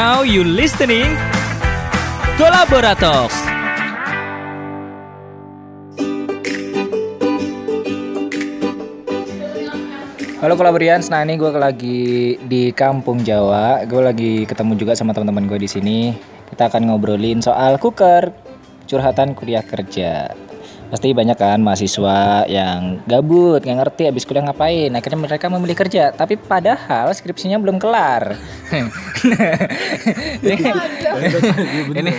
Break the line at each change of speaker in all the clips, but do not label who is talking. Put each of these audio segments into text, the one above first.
Now you listening Kolaborator
Halo Kolaborians, nah ini gue lagi di kampung Jawa. Gue lagi ketemu juga sama teman-teman gue di sini. Kita akan ngobrolin soal cooker, curhatan kuliah kerja. Pasti banyak kan mahasiswa yang gabut, nggak ngerti abis kuliah ngapain. Akhirnya mereka memilih kerja, tapi padahal skripsinya belum kelar. ini, ini,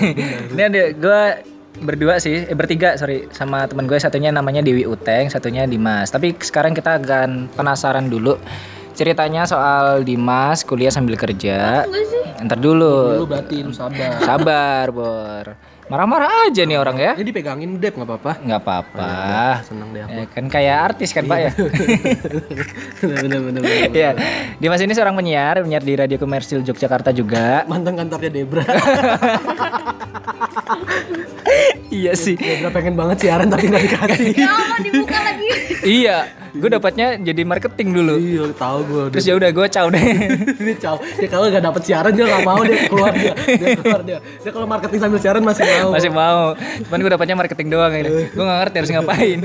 ini ada gue berdua sih, eh, bertiga sorry sama teman gue satunya namanya Dewi Uteng, satunya Dimas. Tapi sekarang kita akan penasaran dulu ceritanya soal Dimas kuliah sambil kerja. Ntar
Lu
dulu,
batin sabar.
sabar bor. Marah-marah aja nih orang ya.
Ini dipegangin Dep nggak apa-apa.
Nggak apa-apa.
Seneng deh aku.
Ya, kan kayak artis kan pak ya.
bener bener. bener.
Iya. Dimas ini seorang penyiar, penyiar di radio komersil Yogyakarta juga.
Mantan kantornya Debra.
iya sih.
Debra pengen banget siaran tapi nggak dikasih.
iya. Gue dapatnya jadi marketing dulu.
Iya, tahu gue.
Terus ya udah gue caw deh.
Dia caw. Dia Ya, kalau nggak dapet siaran dia nggak mau dia keluar dia. Dia keluar dia. Dia kalau marketing sambil siaran masih mau.
masih mau cuman gue dapatnya marketing doang ini gue gak ngerti harus ngapain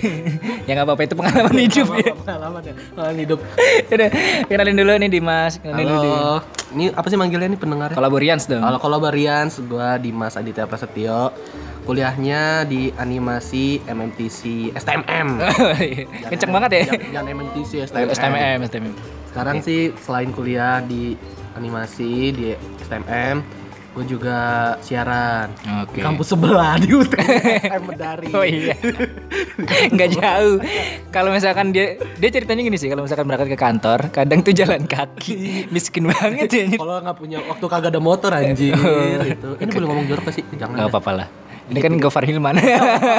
ya nggak apa-apa itu pengalaman hidup ya
Pengalaman ya, pengalaman hidup.
udah kenalin dulu nih Dimas kenalin dulu Dim.
Halo. Ini apa sih manggilnya nih pendengarnya?
kolaborians dong
Kalau kolabarians, gua Dimas Aditya Prasetyo. Kuliahnya di animasi MMTC STMM.
Oh, kenceng banget ya
Dan
iya.
MMTC
STMM STMM
Sekarang sih selain kuliah di animasi di STMM, gue juga siaran.
oke
Di kampus sebelah di UTM Medari.
oh iya nggak jauh kalau misalkan dia dia ceritanya gini sih kalau misalkan berangkat ke kantor kadang tuh jalan kaki miskin banget ya nyet.
Kalau nggak punya waktu kagak ada motor anjir itu. Ini belum ngomong jorok sih? Jangan.
Oh. nggak apa-apa lah ini kan Gofar Hilman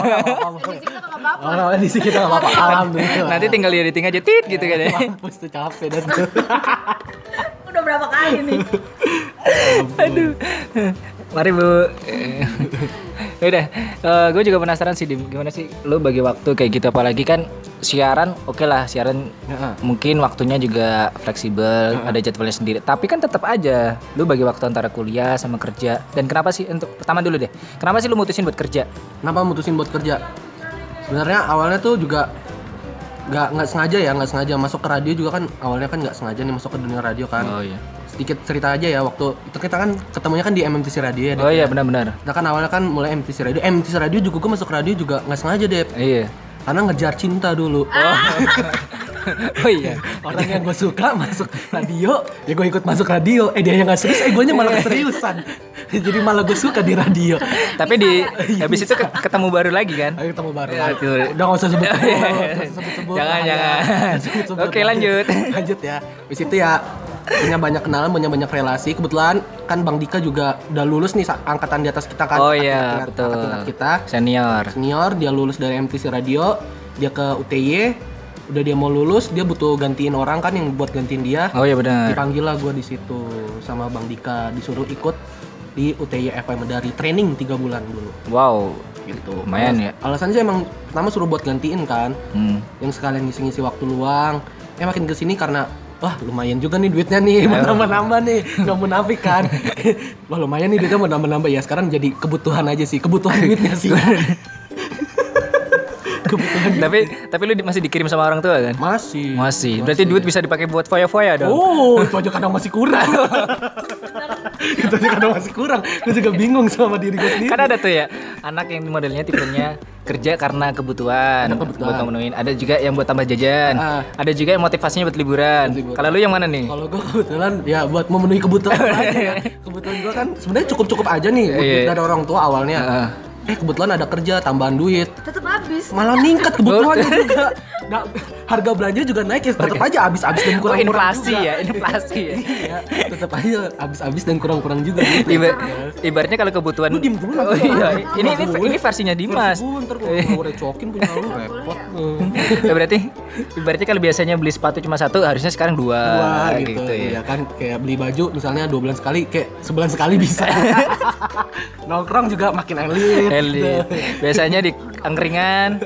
Orang-orang Oh, di sini kita nggak apa-apa. Alhamdulillah.
nanti tinggal di editing aja tit gitu kan ya
Mampus tuh capek dan tuh.
Udah berapa kali nih?
Aduh. Mari Bu. Eh, Udah, gue eh, juga penasaran sih Dim, gimana sih lu bagi waktu kayak gitu apalagi kan siaran oke lah siaran
Nah,
mungkin waktunya juga fleksibel ada jadwalnya sendiri tapi kan tetap aja lu bagi waktu antara kuliah sama kerja dan kenapa sih untuk pertama dulu deh kenapa sih lu mutusin buat kerja
Kenapa mutusin buat kerja? Sebenarnya awalnya tuh juga nggak nggak sengaja ya nggak sengaja masuk ke radio juga kan awalnya kan nggak sengaja nih masuk ke dunia radio kan
iya
sedikit cerita aja ya waktu itu kita kan ketemunya kan di MMTC radio ya Dep.
oh iya benar-benar
kita kan awalnya kan mulai MTC radio MTC radio juga gue masuk radio juga nggak sengaja deh
iya
karena ngejar cinta dulu
oh iya
orang yang gue suka masuk radio ya gue ikut masuk radio eh dia yang nggak serius eh gue malah keseriusan jadi malah gue suka di radio
tapi di habis itu ke- ketemu baru lagi kan
ayo ketemu baru
Ya, itu. iya.
udah nggak usah sebut
Jangan, jangan. Oke, lanjut.
lanjut ya habis itu ya punya banyak kenalan punya banyak relasi kebetulan kan bang Dika juga udah lulus nih sa- angkatan di atas kita kan
oh
angkatan
iya
tingkat-
betul
angkatan tingkat kita
senior
senior dia lulus dari MTC Radio dia ke UTY udah dia mau lulus dia butuh gantiin orang kan yang buat gantiin dia
oh iya benar
dipanggil lah gue di situ sama Bang Dika disuruh ikut di UTY FM dari training tiga bulan dulu
Wow,
gitu
lumayan ya.
alasannya sih emang pertama suruh buat gantiin kan
Hmm.
yang sekalian ngisi-ngisi waktu luang eh makin kesini karena wah lumayan juga nih duitnya nih mau nambah-nambah nih nggak munafik kan wah lumayan nih duitnya mau nambah-nambah ya sekarang jadi kebutuhan aja sih kebutuhan duitnya sih kebutuhan
tapi tapi lu di- masih dikirim sama orang tua kan?
masih
Masih. Berarti duit bisa dipakai buat foya-foya dong.
Oh, itu aja kadang masih kurang. itu aja kadang masih kurang. Gue juga bingung sama diri gue sendiri.
Kan ada tuh ya anak yang modelnya tipenya kerja karena kebutuhan,
Karena kebutuhan.
buat memenuhin. Ada juga yang buat tambah jajan.
Ah.
Ada juga yang motivasinya buat liburan.
Motivasi buat-
Kalau lu yang mana nih?
Kalau gue kebetulan ya buat memenuhi kebutuhan gua aja. kan. Kebutuhan gue kan sebenarnya cukup-cukup aja nih buat
Iya.
duit dari orang tua awalnya.
Heeh.
Eh kebetulan ada kerja tambahan duit.
Tetep habis.
Malah ningkat kebutuhannya juga. Nah, harga belanja juga naik ya tetap aja habis-habis dan
Oh,
kurang-kurang.
inflasi
juga.
ya, inflasi ya.
Iya, tetap aja habis-habis dan kurang-kurang juga gitu.
Iba- ibaratnya kalau kebutuhan
Lu diem dulu
Oh,
nanti gua
iya.
angkat.
ini ini
Gua
ini versinya Dimas.
Gue ntar kalau gue recokin punya lu repot.
Ya, berarti berarti kalau biasanya beli sepatu cuma satu, harusnya sekarang dua,
Wah, gitu, ya. kan kayak beli baju misalnya dua bulan sekali kayak sebulan sekali bisa nongkrong juga makin elit
Elit. Biasanya di angkringan,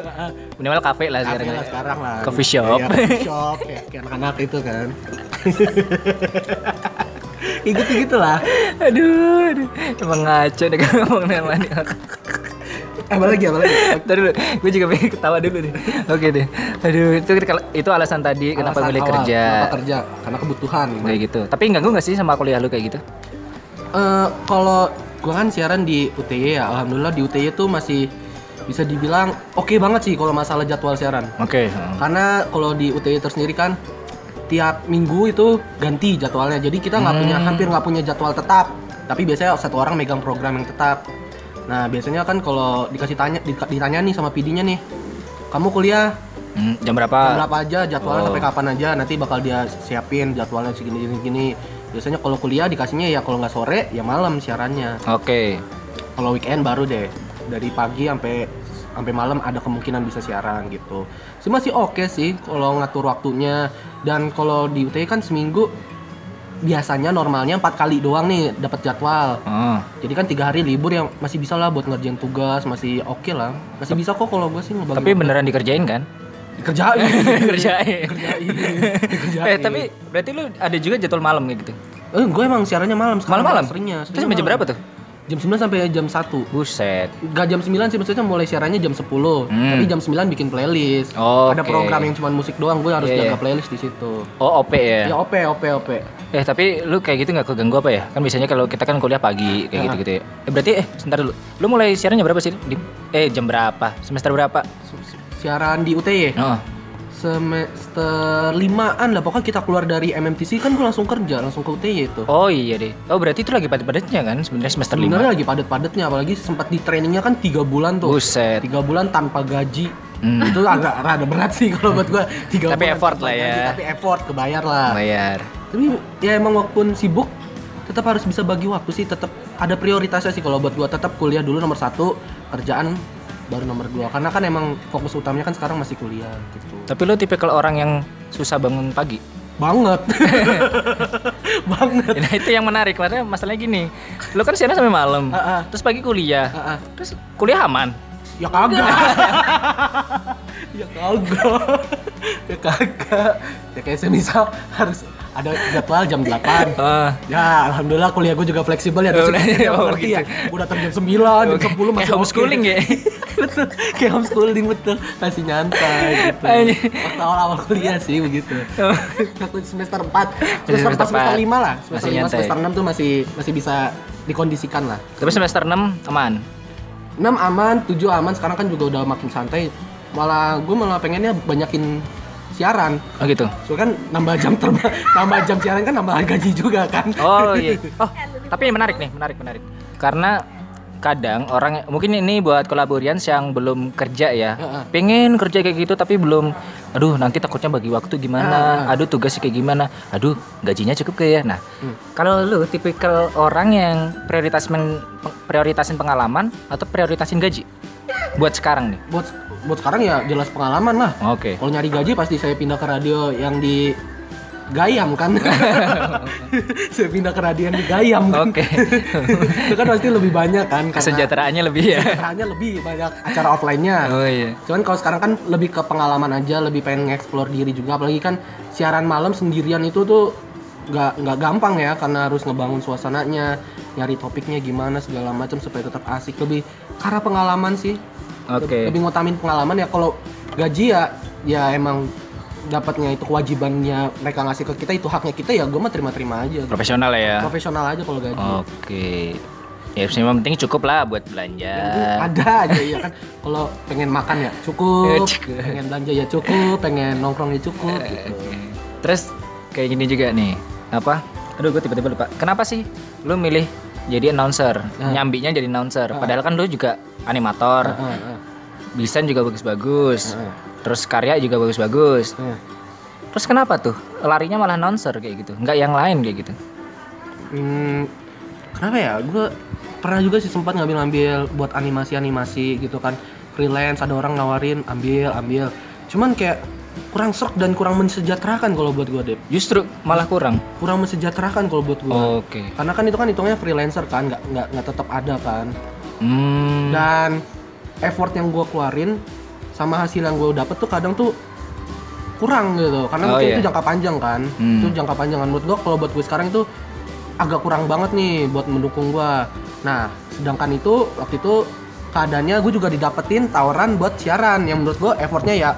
minimal kafe lah
Kafe
sekarang.
lah sekarang lah
Coffee shop.
Iya, coffee shop kayak, kayak anak-anak itu kan ya gitu gitulah
aduh, aduh. emang ngaco deh kalau ngomong Nelmani
apa Eh, lagi apa lagi
Tadi dulu, gue juga pengen ketawa dulu nih. Oke deh. Aduh, itu itu alasan tadi kenapa
Alasan
milih
awal,
kerja.
kenapa kerja karena kebutuhan
Kayak gitu. Tapi ganggu gak sih sama kuliah lu kayak gitu?
Eh, kalau gua kan siaran di UTY ya alhamdulillah di UTY tuh masih bisa dibilang oke banget sih kalau masalah jadwal siaran
Oke.
karena kalau di UTI tersendiri kan tiap minggu itu ganti jadwalnya jadi kita nggak punya hampir nggak punya jadwal tetap tapi biasanya satu orang megang program yang tetap nah biasanya kan kalau dikasih tanya dika- ditanya nih sama PD-nya nih kamu kuliah
Hmm, jam berapa?
jam berapa aja jadwalnya
Oh.
sampai kapan aja nanti bakal dia siapin jadwalnya segini gini gini biasanya kalau kuliah dikasihnya ya kalau nggak sore ya malam siarannya
Oke.
kalau weekend baru deh dari pagi sampai sampai malam ada kemungkinan bisa siaran gitu. Sih masih oke sih kalau ngatur waktunya dan kalau di UTI kan seminggu biasanya normalnya empat kali doang nih dapat jadwal.
Oh.
Jadi kan tiga hari libur ya masih bisa lah buat ngerjain tugas masih oke lah masih bisa kok kalau gue sih ngebagi
Tapi beneran dikerjain kan?
kerjain
Kerjain.
kerjain
Eh, tapi berarti lu ada juga jadwal malam kayak gitu.
eh gue emang siarannya malam sekarang
Malam-malam?
seringnya,
Itu
seringnya
sampai jam
malam.
berapa tuh?
jam 9 sampai jam 1
Buset.
Gak jam 9 sih maksudnya mulai siarannya jam 10
Hmm.
Tapi jam 9 bikin playlist
Oh,
Ada
oke.
program yang cuma musik doang Gue harus
Iya,
jaga
iya.
playlist di situ
Oh, OP
Ya
ya.
OP, OP, OP
Eh, tapi lu kayak gitu nggak keganggu apa ya? Kan biasanya kalau kita kan kuliah pagi kayak
Ya.
gitu-gitu ya. Eh, berarti eh sebentar dulu. Lu mulai siarannya berapa sih? Dim? Eh, jam berapa? Semester berapa?
Siaran di UTY
Oh.
Semester 5an lah Pokoknya kita keluar dari MMTC Kan gue langsung kerja, langsung ke UTY itu
Oh iya deh. Oh berarti itu lagi padat-padatnya kan sebenarnya semester lima.
Sebenarnya lagi padet-padetnya Apalagi sempat di trainingnya kan 3 bulan tuh
Buset.
tiga bulan tanpa gaji
Hmm.
Itu agak rada berat sih kalau buat gue tiga
Tapi
bulan
effort
tanpa
lah ya.
gaji, Tapi effort, kebayar lah
Bayar.
tapi ya emang walaupun sibuk tetap harus bisa bagi waktu sih tetap ada prioritasnya sih kalau buat gua tetap kuliah dulu nomor satu kerjaan baru nomor dua karena kan emang fokus utamanya kan sekarang masih kuliah gitu
Tapi lu tipikal orang yang susah bangun pagi.
banget banget
Nah itu yang menarik karena masalahnya gini. Lu kan siaran sampai malam.
Ah, ah.
Terus pagi kuliah.
Ah, ah.
Terus kuliah aman.
ya kagak ya kagak ya kagak ya kayak semisal harus ada jadwal jam 8
Ah.
Ya, alhamdulillah kuliah gue juga fleksibel ya. Terus
Oh,
ya,
oh,
ngerti ya.
gitu.
Gue datang jam 9, jam
Oke.
10 masih
Kayak homeschooling
oke.
ya?
betul, kayak homeschooling betul. Masih nyantai gitu.
Anjing. Oh.
Waktu awal-awal kuliah sih begitu. Waktu semester 4,
Masih
semester
semester
4, semester
empat.
5 lah. Semester
Masih
5,
nyantai.
semester 6 tuh masih masih bisa dikondisikan lah.
Tapi semester 6 aman.
6 aman, 7 aman, sekarang kan juga udah makin santai. Malah gue malah pengennya banyakin siaran.
Oh gitu.
Soalnya kan nambah jam terbang, nambah jam siaran kan nambah gaji juga kan.
Oh iya. Oh, tapi menarik nih, menarik, menarik. Karena kadang orang mungkin ini buat kolaborians yang belum kerja ya.
Heeh.
Pengen kerja kayak gitu tapi belum aduh nanti takutnya bagi waktu gimana. Aduh tugasnya kayak gimana. Aduh gajinya cukup kayak ya. Nah,
Hmm.
kalau lu tipikal orang yang prioritas men- prioritasin pengalaman atau prioritasin gaji buat sekarang nih.
buat buat sekarang ya jelas pengalaman lah.
Oke.
Kalau nyari gaji pasti saya pindah ke radio yang di Gayam kan. saya pindah ke radio yang di Gayam kan.
Oke.
Itu kan pasti lebih banyak kan karena
Kesejahteraannya lebih ya.
caranya lebih banyak acara offline-nya.
Oh iya.
Cuman kalau sekarang kan lebih ke pengalaman aja, lebih pengen nge-explore diri juga. Apalagi kan siaran malam sendirian itu tuh nggak nggak gampang ya karena harus ngebangun suasananya, nyari topiknya gimana segala macam supaya tetap asik lebih karena pengalaman sih.
Oke.
Lebih ngutamin pengalaman ya kalau gaji ya ya emang dapatnya itu kewajibannya mereka ngasih ke kita itu haknya kita ya gue mah terima-terima aja.
Profesional ya.
Profesional aja kalau gaji.
Oke. Ya memang penting cukup lah buat belanja.
Yang penting Ya, ada aja ya kan kalau pengen makan ya cukup,
Ya, cukup.
pengen belanja ya cukup pengen nongkrong ya cukup gitu.
Terus kayak gini juga nih. Apa? Aduh gue tiba-tiba lupa. Kenapa sih lu milih jadi announcer?
Ah.
Nyambinya jadi announcer. Padahal kan lu juga animator.
Ah, ah,
Desain juga bagus-bagus.
Ah.
Terus karya juga bagus-bagus.
ah.
Terus kenapa tuh? Larinya malah announcer kayak gitu. Nggak yang lain kayak gitu.
Hmm, kenapa ya gue pernah juga sih sempat ngambil-ngambil buat animasi-animasi gitu kan freelance ada orang nawarin ambil ambil cuman kayak kurang serk dan kurang mensejahterakan kalau buat gue deh
Justru malah kurang.
kurang mensejahterakan kalau buat gue
Oke.
karena kan itu kan hitungnya freelancer kan nggak nggak nggak tetap ada kan
Hmm.
dan effort yang gue keluarin sama hasil yang gue dapet tuh kadang tuh kurang gitu karena
Oh,
mungkin
iya.
itu jangka panjang kan
Hmm.
itu jangka panjang kan menurut gue kalau buat gue sekarang itu agak kurang banget nih buat mendukung gua. Nah, sedangkan itu waktu itu keadaannya gue juga didapetin tawaran buat siaran yang menurut gue effortnya ya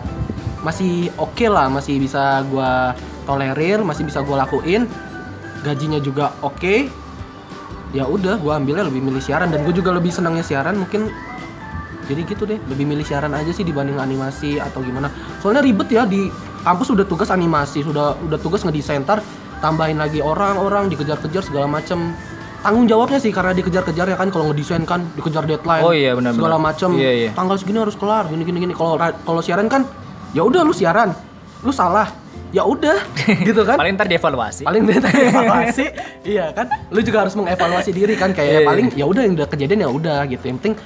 masih oke lah, masih bisa gua tolerir, masih bisa gua lakuin. Gajinya juga oke. Ya udah, gua ambilnya lebih milih siaran dan gue juga lebih senangnya siaran mungkin jadi gitu deh, lebih milih siaran aja sih dibanding animasi atau gimana. Soalnya ribet ya di kampus udah tugas animasi, sudah udah tugas ngedesain ntar tambahin lagi orang-orang dikejar-kejar segala macem tanggung jawabnya sih karena dikejar-kejar ya kan kalau ngedesain kan dikejar deadline
Oh iya, benar-benar.
segala macem
Iya, iya.
tanggal segini harus kelar gini gini gini kalau ra- kalau siaran kan ya udah lu siaran lu salah ya udah gitu kan
Paling ntar dievaluasi.
paling dia tanya evaluasi iya kan lu juga harus mengevaluasi diri kan
Iya,
kayak
iya.
paling ya udah yang udah kejadian ya udah gitu yang penting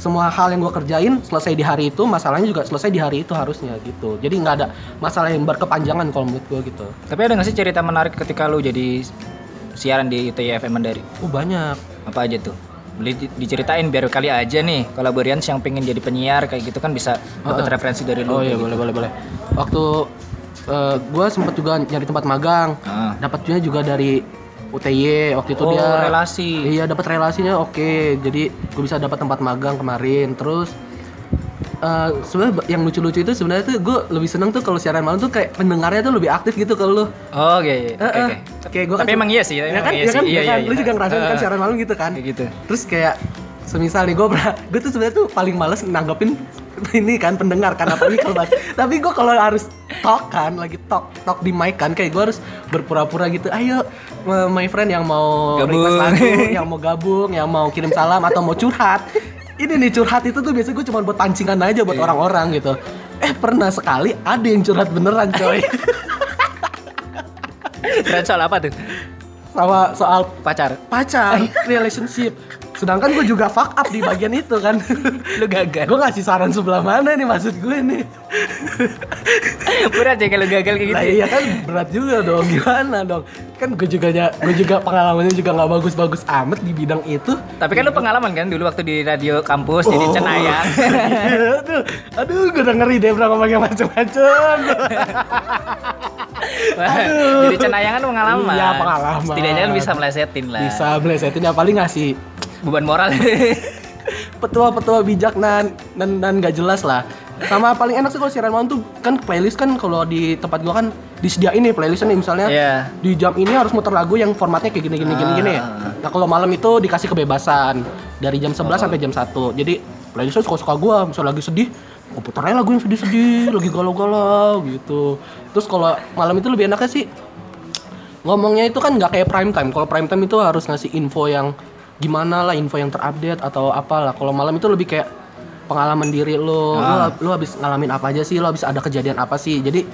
semua hal yang gue kerjain selesai di hari itu masalahnya juga selesai di hari itu harusnya gitu jadi nggak ada masalah yang berkepanjangan kalau menurut gue gitu
Tapi ada nggak sih cerita menarik ketika lu jadi siaran di ITY FM Mandari?
oh banyak
Apa aja tuh? Boleh di- diceritain biar kali aja nih kalau Berians yang pengen jadi penyiar kayak gitu kan bisa dapat
Heeh.
referensi dari lu.
oh
kayak
iya
gitu.
boleh boleh boleh waktu gue sempet juga nyari tempat magang
Ah.
dapatnya juga dari UTY waktu itu
Oh,
dia
relasi.
Iya dapat relasinya oke. Jadi gue bisa dapat tempat magang kemarin. Terus eh sebenarnya ba- yang lucu-lucu itu sebenarnya tuh gue lebih seneng tuh kalau siaran malam tuh kayak pendengarnya tuh lebih aktif gitu kalau lu.
Oh, oke. iya, Oke,
Eh, eh.
oke.
Kayak gua
Tapi
kan-
emang iya sih,
Ya
emang
kan,
iya
ya
sih.
kan,
Iya,
ya
iya,
kan.
iya.
Lu juga ngerasain kan
Eh,
siaran malam gitu kan.
Kayak gitu.
Terus kayak semisal nih gue pernah, gue tuh sebenarnya tuh paling males nanggepin ini kan pendengar kan apalagi kalau bahas. Tapi gue kalau harus talk kan, lagi talk talk di mic kan, kayak gue harus berpura-pura gitu. Ayo, uh, my friend yang mau request
Gabung.
lagu, yang mau gabung, yang mau kirim salam atau mau curhat. Ini nih curhat itu tuh biasanya gue cuma buat pancingan aja buat orang-orang gitu. Eh pernah sekali ada yang curhat beneran coy
Keren soal apa tuh?
sama soal
Pacar.
pacar, relationship. Sedangkan gue juga fuck up di bagian itu kan.
Lu gagal.
gue ngasih saran sebelah mana nih maksud gue nih.
Berat ya kalau gagal kayak gitu.
Lah iya kan berat juga dong gimana dong. Kan gue juga gue juga pengalamannya juga nggak bagus-bagus amat di bidang itu.
Tapi kan lu pengalaman kan dulu waktu di radio kampus jadi
Oh.
cenayang.
aduh, Iya aduh gue udah ngeri deh berapa macam macam.
jadi cenayang kan pengalaman.
Iya, pengalaman.
Setidaknya kan bisa melesetin lah.
Bisa Iya. blesetin ya paling ngasih
Beban moral.
petua-petua bijak nan nan nan nggak jelas lah sama paling enak sih kalau siaran malam tuh kan playlist kan kalau di tempat gua kan disediain nih playlistnya nih misalnya
Iya.
di jam ini harus muter lagu yang formatnya kayak gini gini gini gini ya
Ah.
nah kalau malam itu dikasih kebebasan dari jam 11 sampai jam 1 jadi playlistnya suka-suka gua misalnya lagi sedih gue puter aja lagu yang sedih-sedih lagi galau-galau gitu terus kalau malam itu lebih enaknya sih ngomongnya itu kan nggak kayak prime time. Kalau prime time itu harus ngasih info yang gimana lah, info yang terupdate atau apalah. Kalau malam itu lebih kayak pengalaman diri lo,
Ah.
lo, lo habis ngalamin apa aja sih, lo habis ada kejadian apa sih. Jadi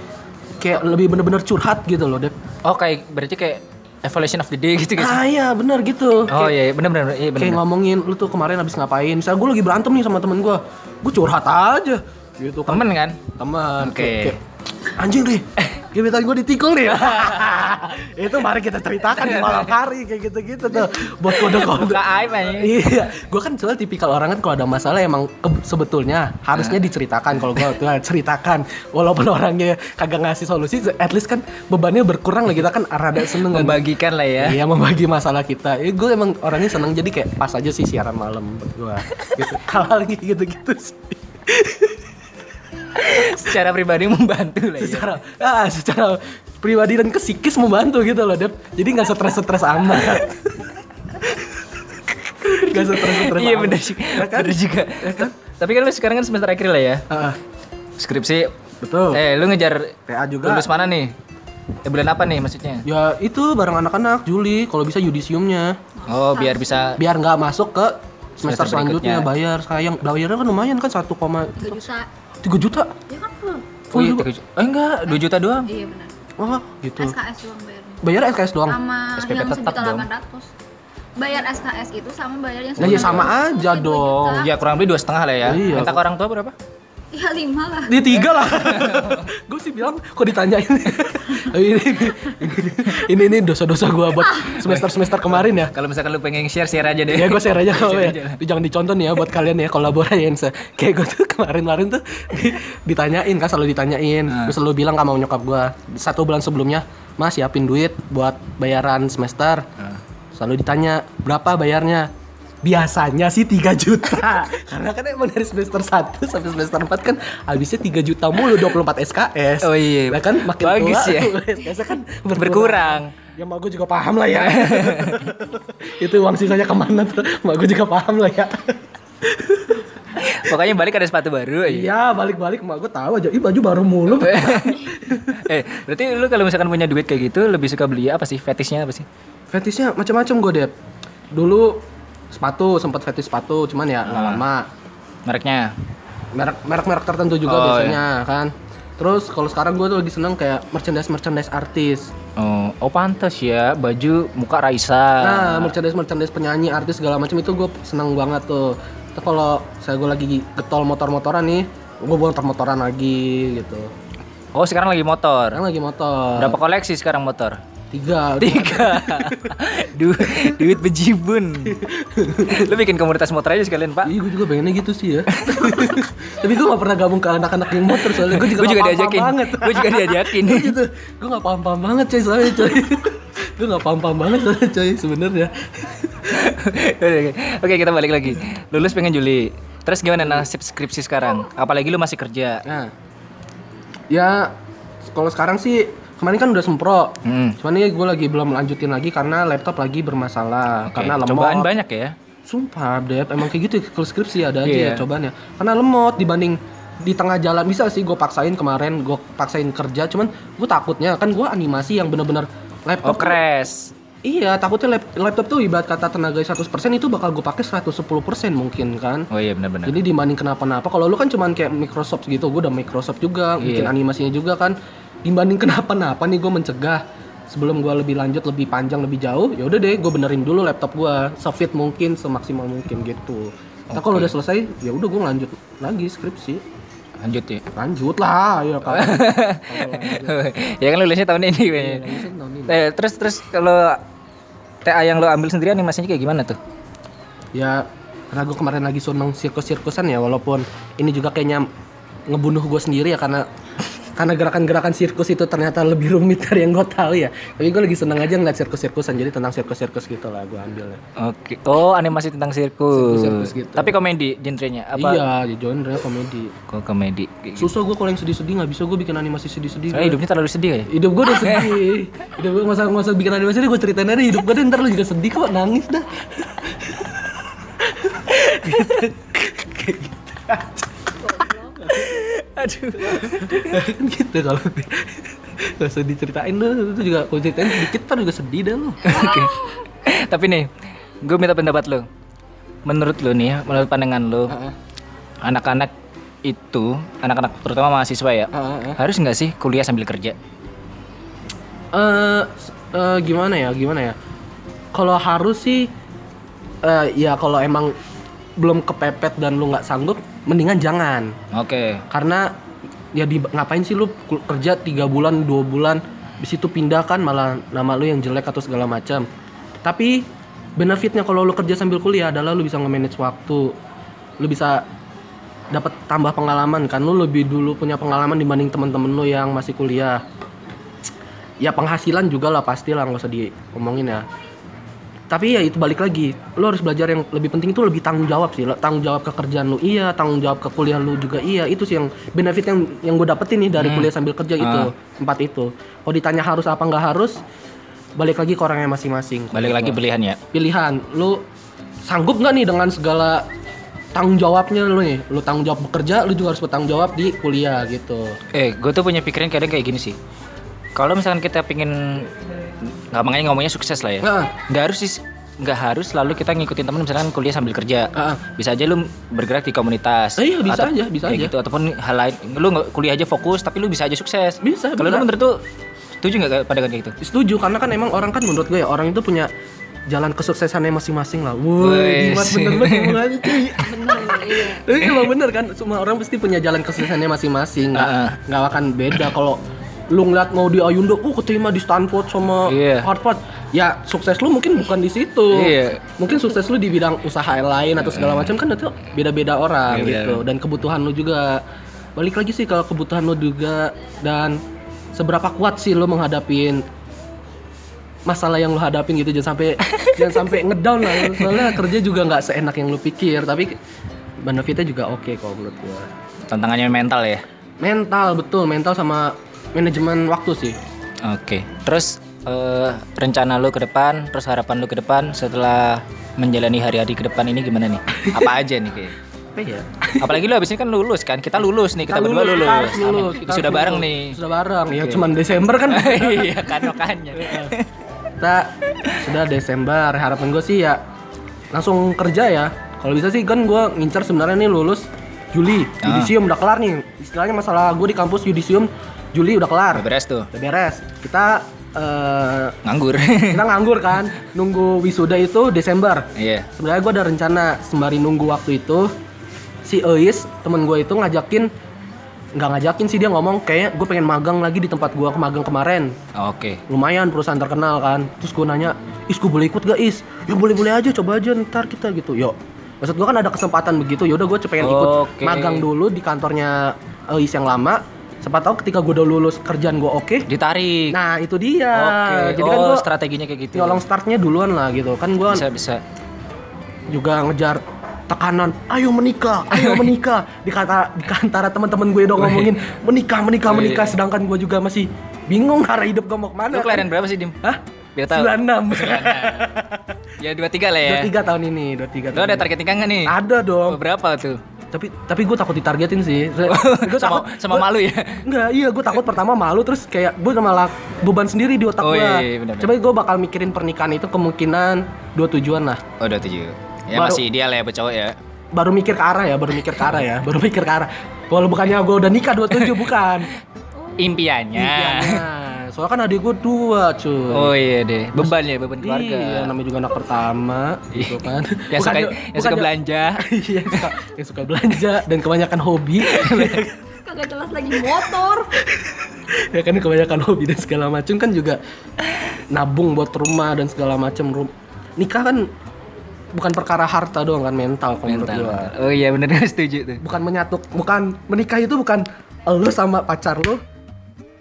kayak lebih bener-bener curhat gitu loh, Dep.
Oh, kayak berarti kayak evolution of the day gitu guys.
Ah iya, bener gitu.
Oh
Kayak-
iya, iya. bener bener iya bener.
kayak ngomongin lu tuh kemarin habis ngapain. Misalnya gue lagi berantem nih sama temen gue, gue curhat aja gitu kan.
Temen kan?
Teman.
Oke. Eh.
Kayak- kayak, Anjing deh. Gebetan gue ditikul deh. itu mari kita ceritakan di malam hari kayak gitu-gitu tuh. Buat kode-kode.
Buka aib aja.
iya, gue kan soal tipikal orang kan kalau ada masalah emang ke- sebetulnya
Eh.
harusnya diceritakan kalau gue tuh ceritakan walaupun orangnya kagak ngasih solusi, at least kan bebannya berkurang lah kita kan rada seneng kan.
Membagikan lah ya.
Iya membagi masalah kita. Ya, gue emang orangnya seneng jadi kayak pas aja sih siaran malam buat gue. Gitu. Hal-hal kayak gitu-gitu sih.
Secara pribadi membantu lah ya.
Secara, ah, secara pribadi dan ke psikis membantu gitu loh Dep. Jadi nggak stres-stres amat. Gak stres-stres
Iya
amat.
bener sih.
Ya kan?
Bener juga. Tapi kan lu sekarang kan semester akhir lah ya.
Ah,
Skripsi
betul.
Eh, lu ngejar
TA Oh. juga.
lulus mana nih? Eh, bulan apa nih maksudnya?
Ya itu bareng anak-anak Juli kalau bisa yudisiumnya
Oh, biar bisa
biar nggak masuk ke
Semester
semester, selanjutnya bayar sayang bayarnya kan lumayan kan 1,3
3 juta.
juta
Dia kan full.
Oh iya,
juga.
tiga juta. Eh enggak, 2 juta doang.
Iya benar.
Wah, gitu
SKS doang bayarnya.
bayar SKS doang
Sama
SPP
yang
tetap
sejuta
dong.
delapan ratus. Bayar SKS itu sama bayar yang
Lah, ya sama
Rp9.800,
aja
Rp2.000.
dong.
Ya kurang lebih dua setengah lah ya.
Iya.
Minta ke orang tua berapa?
Iya lima lah.
Di tiga lah. gue sih bilang kok ditanyain. ini, ini, ini ini dosa-dosa gue buat semester-semester kemarin ya.
Kalau misalkan lu pengen share share aja deh.
Ya gue share aja kalau
Share
ya. Tapi Jangan dicontoh nih ya buat kalian ya kolaborasi Kayak gue tuh kemarin-kemarin tuh di- ditanyain kan selalu ditanyain.
Ah.
Gue selalu bilang
Nah.
sama nyokap gue satu bulan sebelumnya, Mas siapin duit buat bayaran semester. selalu ditanya berapa bayarnya biasanya sih 3 juta karena kan emang dari semester 1 sampai semester 4 kan habisnya 3 juta mulu 24 SKS
Oh iya.
Lah kan makin
Bagus
tua
ya.
SKS kan
Berkurang.
ya mak gue juga paham lah ya itu uang sisanya kemana tuh mak gue juga paham lah ya
Pokoknya balik ada sepatu baru aja.
iya balik-balik mak gue tahu aja ih baju baru mulu
eh, berarti lu kalau misalkan punya duit kayak gitu lebih suka beli apa sih? Fetishnya apa sih?
Fetishnya macam-macam gue Dep. Dulu sepatu sempat fetish sepatu, cuman ya nggak
Ah.
lama.
Mereknya.
Merek merek-merek tertentu juga
Oh,
biasanya kan. Terus kalau sekarang gue tuh lagi seneng kayak merchandise merchandise artis.
Oh, oh pantas ya, baju muka Raisa.
Nah, merchandise merchandise penyanyi artis segala macam itu gue seneng banget tuh. Terus kalau saya gue lagi getol motor-motoran nih, gue bawa motor-motoran lagi gitu.
Oh, sekarang lagi motor.
Sekarang lagi motor.
Berapa koleksi sekarang motor?
Tiga.
Tiga. Du- duit bejibun. Lu bikin komunitas motor aja sekalian, Pak.
Iya, gue juga pengennya gitu sih ya. Tapi gue gak pernah gabung ke anak-anak yang motor soalnya gue juga,
Gue juga
nggak paham-paham
diajakin.
Iya, banget.
Gue juga diajakin.
gitu gue nggak paham paham banget coy soalnya coy gue nggak paham paham banget soalnya coy sebenarnya
Oke, Oke, kita balik lagi. Lulus pengen Juli. Terus gimana nasib skripsi sekarang? Apalagi lu masih kerja.
nah ya kalau sekarang sih kemarin kan udah sempro
Hmm.
cuman ini gue lagi belum lanjutin lagi karena laptop lagi bermasalah
Oke,
karena lemot
Cobaan banyak ya.
sumpah deh emang kayak gitu ya, kalau skripsi ada aja
Iya.
ya cobaannya karena lemot dibanding di tengah jalan bisa sih gue paksain kemarin gue paksain kerja cuman gue takutnya kan gue animasi yang bener-bener
Oh,
laptop
crash.
Iya, takutnya lap- laptop tuh ibarat kata tenaga 100% itu bakal gue pakai 110% mungkin kan.
Oh iya benar-benar.
Jadi dibanding kenapa-napa, kalau lu kan cuman kayak Microsoft gitu, gue udah Microsoft juga, bikin
Iya.
animasinya juga kan. Dibanding kenapa-napa nih gue mencegah sebelum gue lebih lanjut, lebih panjang, lebih jauh, ya udah deh gue benerin dulu laptop gue, sefit mungkin, semaksimal mungkin gitu. Nah kalau udah selesai, ya udah gue lanjut lagi skripsi,
Lanjut ya.
lanjut lah, ya kan.
ya kan lulusnya tahun ini kayaknya.
Tahun ini.
Eh, terus terus kalau TA yang lo ambil sendiri animasinya kayak gimana tuh?
ya karena gue kemarin lagi seneng sirkus-sirkusan ya walaupun ini juga kayaknya ngebunuh gue sendiri ya karena karena gerakan-gerakan sirkus itu ternyata lebih rumit dari yang gue tahu ya tapi gue lagi seneng aja ngeliat sirkus-sirkusan jadi tentang sirkus-sirkus gitu lah gue ambilnya
Oke. Oh, animasi tentang sirkus.
Sirkus-sirkus gitu.
Tapi komedi genrenya apa?
iya di genre komedi
Kok komedi. Kayak gitu.
susah gue kalau yang sedih-sedih nggak bisa gue bikin animasi sedih-sedih
Soalnya hidupnya terlalu sedih ya.
hidup gue udah sedih hidup gue masa masa bikin animasi gue ceritain aja hidup gue deh, ntar lu juga sedih kok nangis dah
Aduh.
kan gitu kalau di gak usah diceritain lu itu juga kalau ceritain sedikit ntar juga sedih dah lu
Oke. Tapi nih, gue minta pendapat lo. Menurut lo nih ya, menurut pandangan lo, anak-anak itu, anak-anak terutama mahasiswa ya, harus nggak sih kuliah sambil kerja?
Eh, s- eh, gimana ya gimana ya kalau harus sih eh, ya kalau emang belum kepepet dan lu nggak sanggup mendingan jangan
Oke.
karena ya di ngapain sih lu kul- kerja tiga bulan dua bulan di situ pindah kan malah nama lu yang jelek atau segala macam tapi benefitnya kalau lu kerja sambil kuliah adalah lu bisa nge-manage waktu lu bisa dapat tambah pengalaman kan lu lebih dulu punya pengalaman dibanding teman-teman lu yang masih kuliah ya penghasilan juga lah pasti lah nggak usah diomongin ya tapi ya itu balik lagi lo harus belajar yang lebih penting itu lebih tanggung jawab sih Lo- tanggung jawab ke kerjaan lu iya tanggung jawab ke kuliah lu juga iya itu sih yang benefit yang yang gue dapetin nih
Hmm.
dari kuliah sambil kerja itu
Ah.
empat itu kalau ditanya harus apa nggak harus balik lagi ke orangnya masing-masing
Balik lagi pilihan ya.
pilihan lu sanggup nggak nih dengan segala tanggung jawabnya lu nih lu tanggung jawab bekerja lu juga harus bertanggung jawab di kuliah gitu
Eh, gue tuh punya pikiran kadang kayak gini sih. Kalau misalkan kita pingin nggak makanya ngomongnya sukses lah ya.
Heeh.
Nggak harus sih, nggak harus selalu kita ngikutin teman misalkan kuliah sambil kerja.
Heeh.
Bisa aja lu bergerak di komunitas.
Eh, iya, bisa
Atau-
aja, bisa
kayak
aja.
Gitu ataupun hal lain. Lu nggak- kuliah aja fokus tapi lu bisa aja sukses.
Bisa,
Kalau
bisa.
lu menurut tuh setuju nggak pada kayak gitu?
setuju karena kan emang orang kan menurut gue ya orang itu punya jalan kesuksesannya masing-masing lah.
Wih,
Woi, Dimas
sih.
bener banget ngomongannya, cuy.
iya.
Tapi emang bener kan, semua orang pasti punya jalan kesuksesannya masing-masing. Nggak,
Ah.
nggak akan beda kalau lu ngeliat mau di Ayundo, uh keterima di Stanford sama
Iya.
Harvard, ya sukses lu mungkin bukan di situ.
Iya.
Mungkin sukses lu di bidang usaha yang lain atau segala macam kan itu beda-beda
Hmm.
orang
Iya,
gitu dan kebutuhan lu juga. Balik lagi sih kalau kebutuhan lu juga dan seberapa kuat sih lu menghadapin masalah yang lo hadapin gitu jangan sampai jangan sampai ngedown lah soalnya kerja juga nggak seenak yang lo pikir tapi benefitnya juga oke kalau menurut gua
Tantangannya mental ya.
mental betul mental sama manajemen waktu sih
Oke. Terus eh, rencana lu ke depan, terus harapan lu ke depan setelah menjalani hari-hari ke depan ini gimana nih? Apa aja nih kayak?
apa
Iya.
ya
Apalagi lu abis ini kan lulus kan? Kita lulus nih, kita, berdua lulus.
harus
Amin.
lulus, kita
Sudah
harus
bareng
lulus.
nih.
sudah bareng ya cuman Desember kan
Iya kan makanya.
kita sudah Desember harapan gue sih ya langsung kerja ya kalau bisa sih kan gue ngincer sebenarnya nih lulus Juli
Ah.
yudisium udah kelar nih istilahnya masalah gue di kampus yudisium Juli udah
Udah
kelar udah
beres tuh.
beres kita eh,
Nganggur.
kita nganggur kan nunggu wisuda itu Desember
Iya.
sebenarnya gue ada rencana sembari nunggu waktu itu si Eis temen gue itu ngajakin nggak ngajakin sih dia ngomong kayak gue pengen magang lagi di tempat gue magang kemarin
Oke.
lumayan perusahaan terkenal kan terus gue nanya is gue boleh ikut gak is ya boleh boleh aja coba aja ntar kita gitu yuk maksud gue kan ada kesempatan begitu yaudah gue pengen ikut
Oke.
magang dulu di kantornya eh, is yang lama siapa tahu ketika gue udah lulus kerjaan gue oke
Ditarik.
nah itu dia
Oke.
jadi
oh,
kan gue
strateginya kayak gitu.
nyolong startnya duluan lah gitu kan gue
Bisa bisa.
juga ngejar tekanan ayo menikah ayo menikah di kata di antara teman-teman
Oh,
gue
iya.
dong ngomongin menikah menikah
Wih.
menikah sedangkan gue juga masih bingung arah hidup gue
Lu
mau kemana kan.
kelahiran berapa sih, Dim?
Hah?
Biar tahu. Kan, nah.
96
Ya 23 lah ya.
23 tahun ini,
Lu
23 tahun.
ada
ini.
target nikah nggak nih?
Ada dong.
Berapa tuh?
Tapi tapi gue takut ditargetin sih. Gue
sama sama malu ya.
Enggak, iya gue takut pertama malu terus kayak gue malah beban sendiri di otak
Oh,
gue.
iya, iya, benar-benar.
Coba gue bakal mikirin pernikahan itu kemungkinan dua tujuan lah.
Oh, udah tujuh. Ya
Baru-
masih ideal ya buat cowok ya.
Baru mikir ke arah ya, baru mikir ke arah ya, baru mikir ke arah. Walau bukannya gue udah nikah 27 bukan.
Impiannya.
Impiannya. Soalnya kan adik gue dua cuy.
Ya. Oh iya deh, beban ya beban keluarga.
Iya, namanya juga anak pertama gitu kan.
Iya. Yang suka
Bukannya-
yang suka
bukannya-
belanja.
Iya, yang suka, yang suka belanja dan kebanyakan hobi.
Kagak jelas lagi motor.
ya kan kebanyakan hobi dan segala macam kan juga nabung buat rumah dan segala macam. Rum- Nikah kan bukan perkara harta doang kan mental kalau menurut
Mental.
gua.
Oh iya bener gua setuju tuh.
Bukan menyatu, bukan menikah itu bukan lu sama pacar lu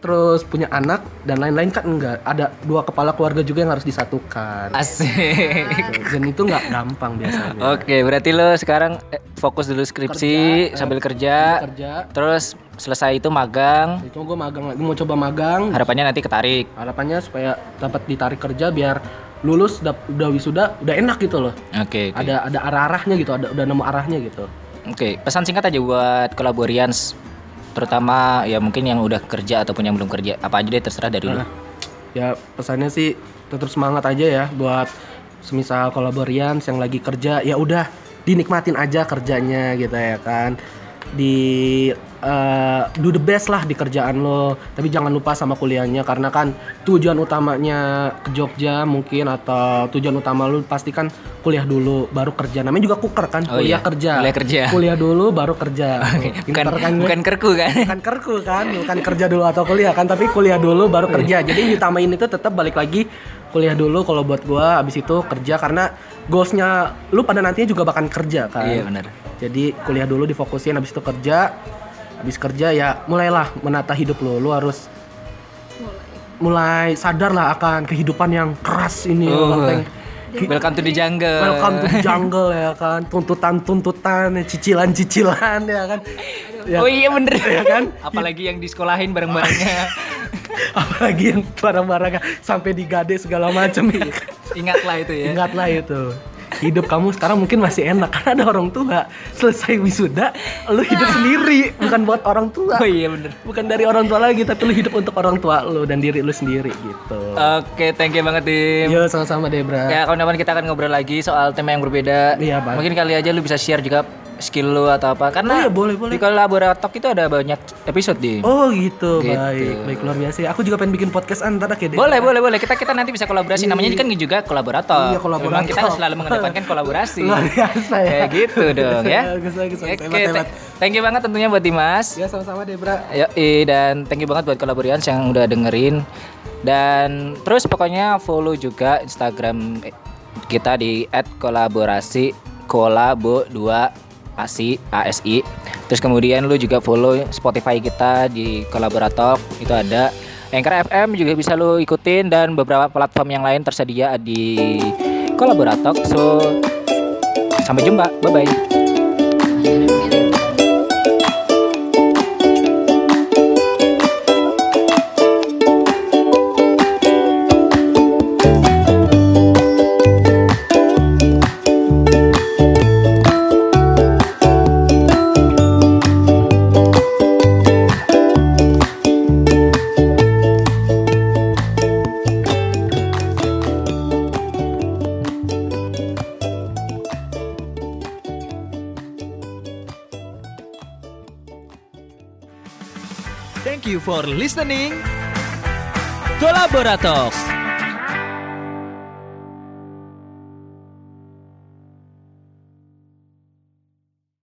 terus punya anak dan lain-lain kan enggak. Ada dua kepala keluarga juga yang harus disatukan.
Asik.
Dan itu enggak gampang biasanya.
Oke, berarti lo sekarang eh, fokus dulu skripsi
Kerja, eh,
sambil kerja,
Kerja,
terus selesai itu magang.
itu gue magang lagi mau coba magang
Harapannya nanti ketarik.
harapannya supaya dapat ditarik kerja biar lulus dap- udah wisuda udah enak gitu loh
Oke, oke.
ada ada arah arahnya gitu ada udah nemu arahnya gitu
Oke, pesan singkat aja buat kolaborians terutama ya mungkin yang udah kerja ataupun yang belum kerja. Apa aja deh terserah dari lu.
Nah, ya pesannya sih tetap semangat aja ya buat semisal kolaborians yang lagi kerja ya udah dinikmatin aja kerjanya gitu ya kan di eh, do the best lah di kerjaan lo tapi jangan lupa sama kuliahnya karena kan tujuan utamanya ke Jogja mungkin atau tujuan utama lu pastikan kuliah dulu baru kerja namanya juga kuker kan
Oh
kuliah
iya,
kerja
kuliah kerja.
kuliah dulu baru kerja
Bukan
Pinter kan gue?
bukan kerku kan?
bukan kerku kan bukan kerja dulu atau kuliah kan tapi kuliah dulu baru
Iya.
kerja jadi ditamain itu tetap balik lagi kuliah dulu kalau buat gua abis itu kerja karena goalsnya lu pada nantinya juga bakal kerja kan
Iya benar.
jadi kuliah dulu difokusin abis itu kerja abis kerja ya mulailah menata hidup lu lu harus
Mulai.
mulai sadar lah akan kehidupan yang keras ini yang
Oh.
penting.
Welcome to the jungle.
Welcome to the jungle ya kan, tuntutan-tuntutan, cicilan-cicilan ya kan. Ya
Oh iya bener
Iya kan?
Apalagi yang disekolahin bareng-barengnya.
apalagi yang barang-barang sampai digade segala macam
Ingatlah itu ya.
ingatlah itu hidup kamu sekarang mungkin masih enak karena ada orang tua selesai wisuda lu hidup sendiri bukan buat orang tua
Oh iya bener.
bukan dari orang tua lagi tapi lu hidup untuk orang tua lu dan diri lu sendiri gitu
Oke, thank you banget tim.
yo sama-sama Debra
Ya kawan-kawan kita akan ngobrol lagi soal tema yang berbeda.
Iya, Bang.
Mungkin kali aja lu bisa share juga skill lu atau apa. Karena
Oh iya, boleh, boleh.
di kolaborator Talk itu ada banyak episode di.
oh gitu,
Gitu.
baik baik luar biasa ya. aku juga pengen bikin podcast antar kayak
Boleh, boleh, boleh. Kita kita nanti bisa kolaborasi. Namanya ini kan juga kolaborator.
Iya,
Memang
kolaborator.
kita selalu mengedepankan kolaborasi.
Luar biasa ya.
Kayak gitu dong ya.
Bagus, bagus, bagus.
Oke,
Hebat, hebat.
thank- thank you banget tentunya buat Dimas.
ya sama-sama Debra
Yoi, dan thank you banget buat kolaborians yang udah dengerin dan terus pokoknya follow juga Instagram kita di @kolaborasi kolabo 2 asi ASI. Terus kemudian lu juga follow Spotify kita di Kolaborator itu ada Anchor FM juga bisa lo ikutin dan beberapa platform yang lain tersedia di Kolaboratok. So sampai jumpa. Bye bye.
Mirip-mirip.
Thank you for listening. Kolaborator.